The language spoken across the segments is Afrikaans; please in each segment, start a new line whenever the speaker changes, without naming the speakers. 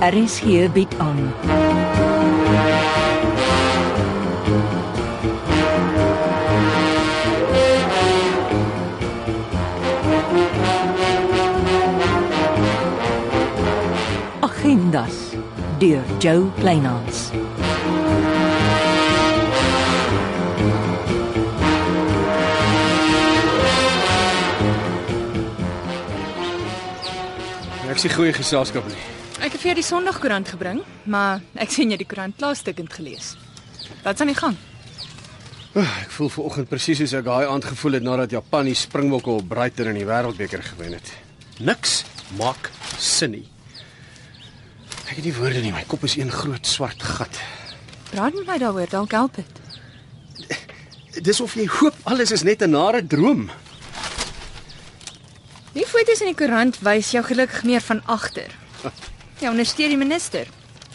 Aris hier bied aan. Agendas deur Jo Kleinhans.
Ek sien goeie geselskap nie.
Ek het vir jou die Sondagkoerant gebring, maar ek sien jy het die koerant klaarstukkend gelees. Wat's aan die gang?
Ek voel ver oggend presies soos ek daai aand gevoel het nadat Japan die Springbokke op Brighton in die Wêreldbeker gewen het. Niks maak sin nie. Ek het nie woorde nie. My kop is een groot swart gat.
Praat met my daaroor, dalk help dit.
Dis of jy hoop alles is net 'n nare droom.
Die foto's in die koerant wys jou gelukkig meer van agter. Jy ondersteun die minister.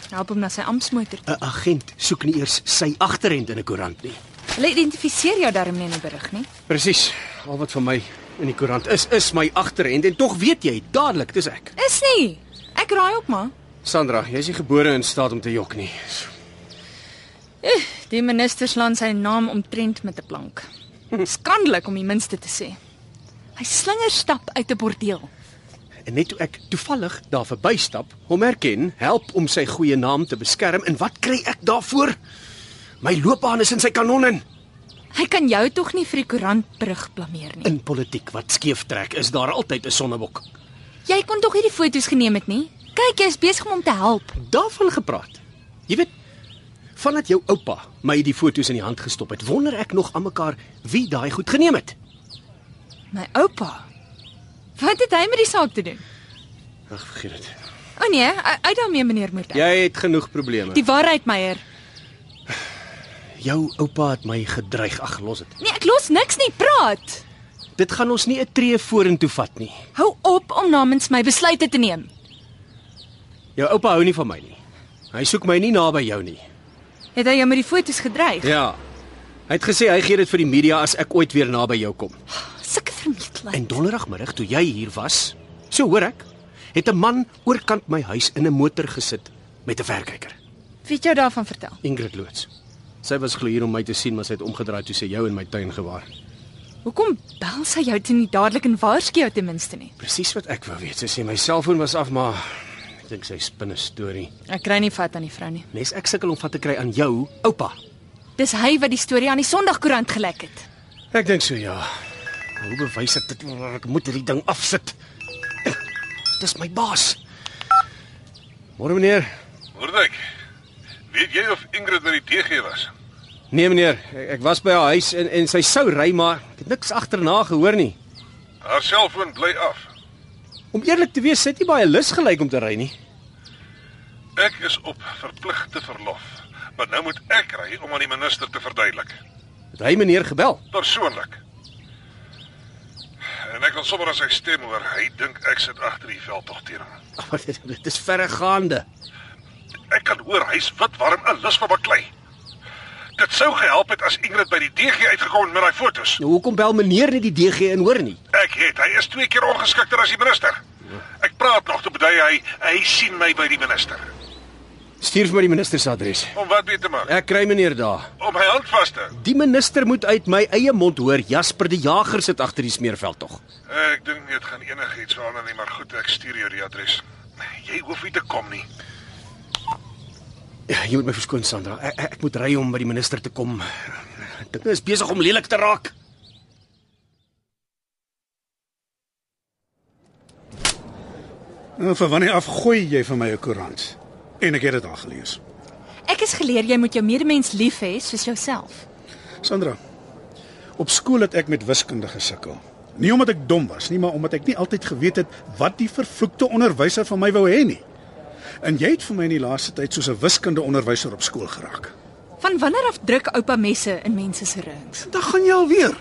Help hom na sy amptsmotor.
'n Agent soek nie eers sy agterend in 'n koerant nie.
Hulle identifiseer jou daarmee in die berig, nie?
Presies. Al wat vir my in die koerant is, is my agterend en tog weet jy dadelik dis ek.
Is nie. Ek raai op maar.
Sandra, jy's nie gebore in staat om te jok nie.
Die minister slaan sy naam omtrent met 'n plank. Skandelik om die minste te sê. Hy slinger stap uit 'n bordeel.
En net toe ek toevallig daar verbystap, hom herken, help om sy goeie naam te beskerm en wat kry ek daarvoor? My loopbaan is in sy kanon in.
Hy kan jou tog nie vir die koerantberig blameer nie.
In politiek wat skeef trek, is daar altyd 'n sonnebok.
Jy kon tog hierdie foto's geneem het nie? Kyk, jy's besig om hom te help.
Daarvan gepraat. Jy weet, vandat jou oupa my die foto's in die hand gestop het, wonder ek nog aan mekaar wie daai goed geneem het.
My oupa. Wat het hy met die saak te doen?
Ag, vergeet dit.
O nee, u- uit daarmee meneer Moeder.
Jy het genoeg probleme.
Die waarheid, Meyer.
Jou oupa het my gedreig, ag, los dit.
Nee, ek los niks nie, praat.
Dit gaan ons nie 'n tree vorentoe vat nie.
Hou op om namens my besluite te neem.
Jou oupa hou nie van my nie. Hy soek my nie naby jou nie.
Het hy jou met die foto's gedreig?
Ja. Hy het gesê hy gee dit vir die media as ek ooit weer naby jou kom.
Sulke vermetelheid.
En donderdagmiddag toe jy hier was, so hoor ek, het 'n man oorkant my huis in 'n motor gesit met 'n verkyker.
Wie het jou daarvan vertel?
Ingrid loods. Sy was glo hier om my te sien, maar sy het omgedraai toe sy jou in my tuin gewaar.
Hoekom bel sy jou toe nie dadelik en waarsku jou ten minste nie?
Presies wat ek wou weet. Sy sê my selfoon was af, maar ek dink sy spinne storie.
Ek kry nie vat aan die vrou nie.
Nes ek sukkel om vat te kry aan jou oupa.
Dis hy wat die storie aan die Sondagkoerant gelek het.
Ek dink so ja. Maar Hoe bewys ek dit? Ek moet hierdie ding afsit. Dis my baas. Môre meneer.
Hoordek. Weet jy of Ingrid by die DG was?
Nee meneer, ek, ek was by haar huis en en sy sou ry maar ek het niks agterna gehoor nie.
Haar selfoon bly af.
Om eerlik te wees, sit nie baie lus gelyk om te ry nie.
Ek is op verpligte verlof, maar nou moet ek ry om aan die minister te verduidelik,
Het hy meneer gebel?
persoonlik. En ek kan sommer aan sy stem hoor, hy dink ek sit agter die veld tog teen hom.
Oh, dit, dit is verregaande.
Ek kan hoor hy's wit warm 'n lus vir baklei. Dit sou gehelp het as Ingrid by die DG uitgekom het met daai fotos.
Nou hoekom bel meneer nie die DG en hoor nie?
Ek het, hy is twee keer ongeskikter as die minister. Ek praat nog toe bedui hy, hy sien my by die minister.
Stuur vir my die minister se adres.
Om wat weet te maak?
Ek kry meneer daar.
Om my hand vas te. hou.
Die minister moet uit my eie mond hoor Jasper die Jager sit agter die smeerveld tog.
Eh, Ek dink nie dit gaan enigiets verander nie, maar goed, ek stuur jou die adres. Jy hoef nie te kom nie.
Ja, jy moet my verskoon Sandra. Ek, ek- ek moet ry om by die minister te kom. Dit is besig om lelik te raak.
Nou, Vir wanneer af gooi jy vir my 'n koerant? En ek het dit al gelees.
Ek is geleer jy moet jou medemens lief hê soos jouself.
Sandra. Op skool het ek met wiskunde gesukkel. Nie omdat ek dom was nie, maar omdat ek nie altyd geweet het wat die vervloekte onderwyser van my wou hê nie. En jy het vir my in die laaste tyd soos 'n wiskundeonderwyser op skool geraak.
Van wanneer af druk oupa messe in mense se rings?
Dan gaan jy alweer.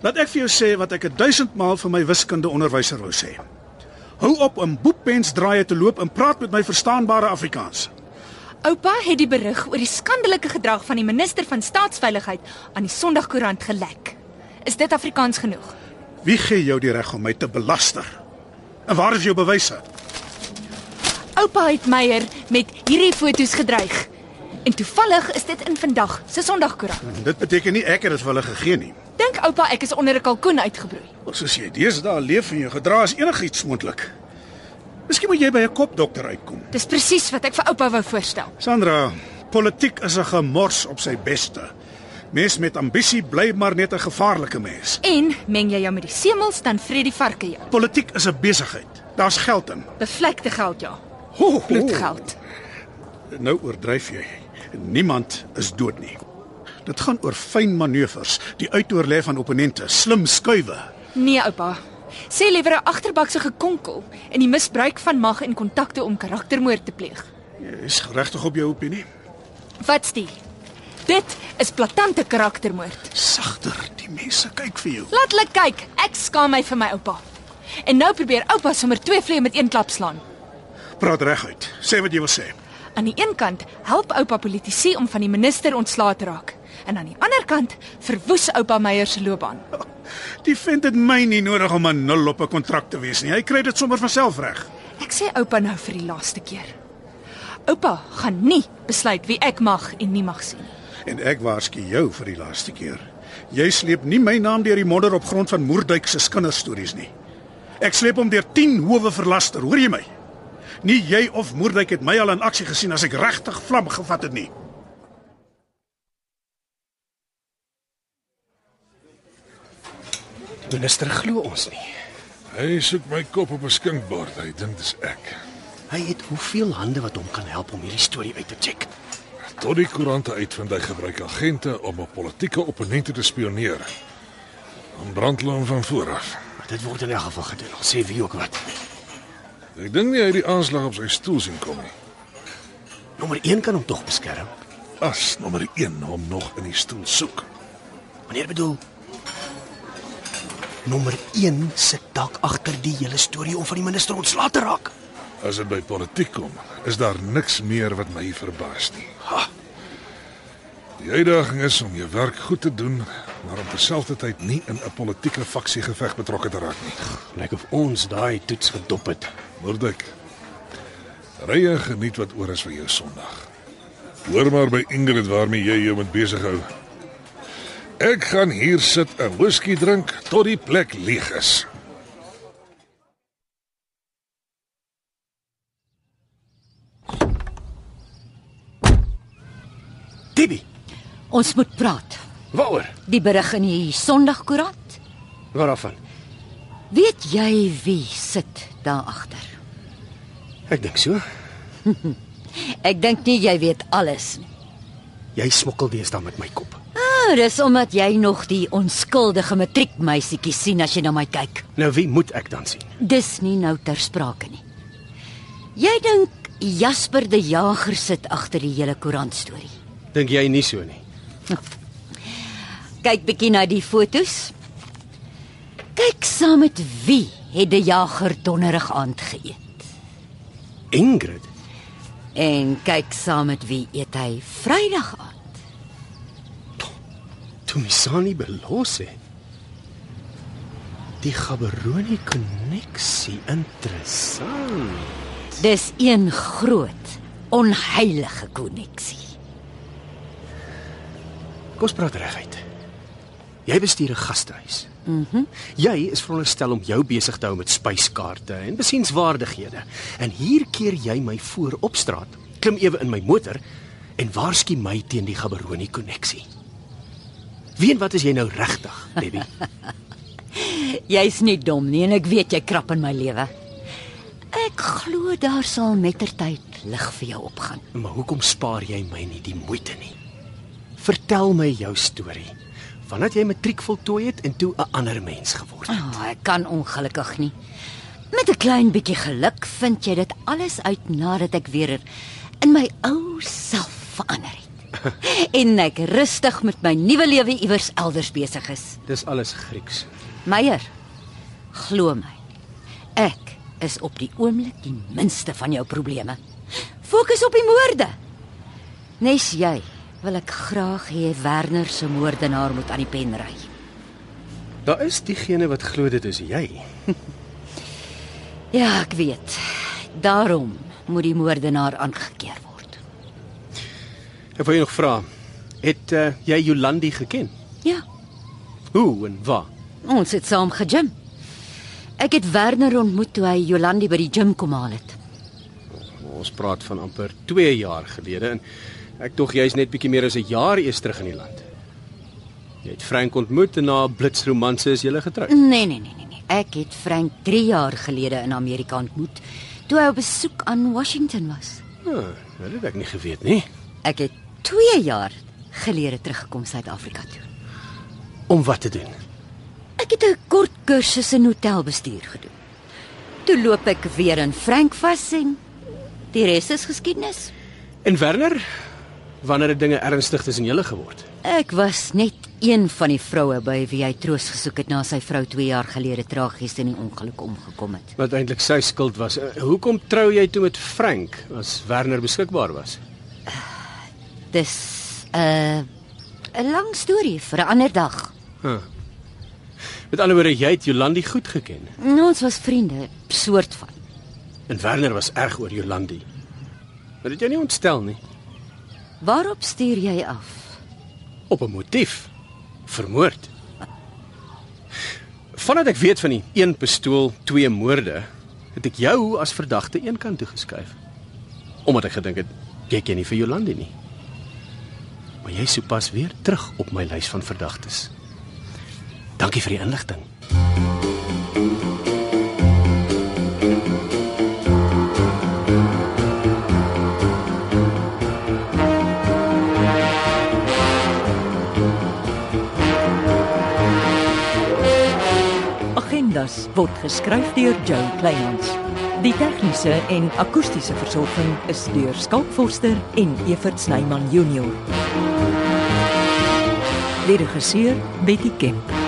Laat ek vir jou sê wat ek 1000 maal vir my wiskundeonderwyser wou sê. Hou op om boekpens draaie te loop en praat met my verstaanbare Afrikaans.
Oupa het die berig oor die skandelike gedrag van die minister van staatsveiligheid aan die Sondagkoerant gelek. Is dit Afrikaans genoeg?
Wie gee jou die reg om my te belaster? En waar is jou bewyse?
Oupa het Meyer met hierdie foto's gedreig. En toevallig is dit in vandag se Sondagkoerant.
En dit beteken nie ek het dit vir hulle gegee nie.
Dink oupa ek is onder 'n kalkoen uitgebroei.
Maar soos jy deesdae leef en jou gedra is enigiets moontlik. Miskien moet jy by 'n kopdokter uitkom.
Dis presies wat ek vir oupa wou voorstel.
Sandra, politiek is 'n gemors op sy beste. Mens met ambisie bly maar net 'n gevaarlike mens.
En meng jy jou met die semels dan vreet die varke jou.
Politiek is 'n besigheid. Daar's geld in.
Bevlekte geld ja.
Ho, ho.
Bloedgeld.
Nou oordryf jy. Niemand is dood nie. Dit gaan oor fyn manoeuvres, die uitoorlê van opponente, slim skuwe.
Nee oupa. Sê liewer 'n agterbakse gekonkel in die misbruik van mag en kontakte om karaktermoord te pleeg.
Jy's geregtig op jou opinie.
Wat's die? Dit is platante karaktermoord.
Sagter, die mense kyk vir jou.
Laat hulle kyk. Ek skaam my vir my oupa. En nou probeer oupa sommer twee vleie met een klap slaan.
Praat reguit. Sê wat jy wil sê.
Aan die een kant help oupa politici om van die minister ontslae te raak. En aan die ander kant verwoes oupa Meyer se loopbaan.
Die vent het my nie nodig om 'n nul op 'n kontrak te wees nie. Hy kry dit sommer vanself reg.
Ek sê oupa nou vir die laaste keer. Oupa gaan nie besluit wie ek mag en nie mag sien nie.
En ek waarsku jou vir die laaste keer. Jy sleep nie my naam deur die modder op grond van Moerduyk se kinderstories nie. Ek sleep hom deur 10 howe vir laster, hoor jy my? Nie jy of Moerduyk het my al in aksie gesien as ek regtig vlam gevat het nie.
Minister glo ons nie.
Hy soek my kop op 'n skinkbord. Hy dink dis ek.
Hy het hoeveel hande wat hom kan help om hierdie storie uit te check.
Tot die koerante uitvind hy gebruik agente om op politieke opponente te spioneer. Om brandloon van vooraf.
Maar dit word in elk geval gedoen. Ons sê wie ook wat.
Ek dink nie hy het die aanslag op sy stoel sien kom nie.
Nommer 1 kan hom tog beskerm.
As nommer 1 hom nog in die stoel soek.
Meneer bedoel Nommer 1 sit dalk agter die hele storie om van die minister ontslae te raak.
As dit by politiek kom, is daar niks meer wat my verbaas nie. Ha. Die uitdaging is om jou werk goed te doen, maar om terselfdertyd nie in 'n politieke faksiegeveg betrokke te raak nie.
Lyk of ons daai toets gedop het.
Mordik. Rye geniet wat oor is vir jou Sondag. Hoor maar by Ingrid waarmee jy jou moet besig hou. Ek gaan hier sit en whisky drink tot die plek leeg is.
Tibi,
Ons moet praat.
waaroor?
Die berig in die Sondagkoerant.
Waarvan?
Weet jy wie sit daar agter?
Ek dink so.
Ek dink nie jy weet alles nie.
Jy smokkel deesdae met my kop.
Ah, dis omdat jy nog die onskuldige matriekmeisietjie sien as jy na my kyk.
Nou wie moet ek dan sien?
Dis nie nou ter sprake nie. Jy dink Jasper die Jager sit agter die hele koerant storie.
Dink jy nie so nie?
Kyk bietjie na die fotos. Kyk saam met wie het die Jager donderig aand geëet
Ingrid,
en kyk saam met wie eet hy Vrydag aand.
Tumisani Belose. Die Gaberoni koneksie interessant.
Dis een groot onheilige koneksie.
Kom ons praat reguit. Jy bestuur 'n gastehuis. Mhm. jy is veronderstel om jou besig te hou met spyskaarte en besienswaardighede. En hier keer jy my voor op straat, klim ewe in my motor en waarsku my teen die Gaberoni koneksie. Wie en wat is jy nou regtig, Debbie?
Jy's nie dom nie en ek weet jy krap in my lewe. Ek glo daar sal mettertyd lig vir jou opgaan.
Maar hoekom spaar jy my nie die moeite nie? Vertel my jou storie. Vandat jy matriek voltooi het en toe 'n ander mens geword het.
Oh, ek kan ongelukkig nie. Met 'n klein bietjie geluk vind jy dit alles uit nadat ek weer in my ou self verander het. en ek rustig met my nuwe lewe iewers elders besig is.
Dis alles Grieks.
Meyer, glo my. Ek is op die oomblik die minste van jou probleme. Fokus op die moorde. Nes jy wil ek graag hê Werner se moordenaar moet aan die pen ry.
Daar is diegene wat glo dit is jy.
Ja, ek weet. Daarom moet die moordenaar aangekeer word.
Ek wil jou nog vra, het uh, jy Jolandi geken?
Ja,
Hoe en waar?
ons het saam gegym. Ek het Werner ontmoet toe hy Jolandi by die gym kom haal het.
Ons praat van amper 2 jaar gelede en ek tog jy's net bietjie meer as 'n jaar eers terug in die land. Jy het Frank ontmoet en na 'n blitsromanse is julle getroud.
Nee, nee, nee, nee, nee. Ek het Frank 3 jaar gelede in Amerika ontmoet toe hy op besoek aan Washington was.
Ah, dit het ek nie geweet nie.
Ek het 2 jaar gelede teruggekom Suid-Afrika toe.
Om wat te doen?
Ek het 'n kort kursus in hotelbestuur gedoen. Toe loop ek weer in Frank vas en die res is geskiedenis.
En Werner, wanneer het dinge ernstig tussen julle geword?
Ek was net een van die vroue by wie hy troos gesoek het na sy vrou 2 jaar gelede tragies in 'n ongeluk omgekom het.
Wat eintlik sy skuld was. Eh, Hoekom trou jy toe met Frank as Werner beskikbaar was?
Dis 'n uh, 'n lang storie vir 'n ander dag.
Huh. Met ander woorde, jy het Jolandi goed geken.
Nou, Ons was vriende, soort van.
En Werner was erg oor Jolandi. Maar dit het jou nie ontstel nie.
Waarop stuur jy af?
op 'n motief vermoord. Vandat ek weet van die een pistool, twee moorde, het ek jou as verdagte een kant toe geskuif. Omdat ek gedink het jy ken nie vir Jolande nie. Maar jy is sopas weer terug op my lys van verdagtes. Dankie vir die inligting.
Agendas word geskryf deur Joe Kleinhans. Die tegniese en akoestiese versorging is deur Skalk Forster en Evert Snyman Junior. Lede regisseur Betty Kemp.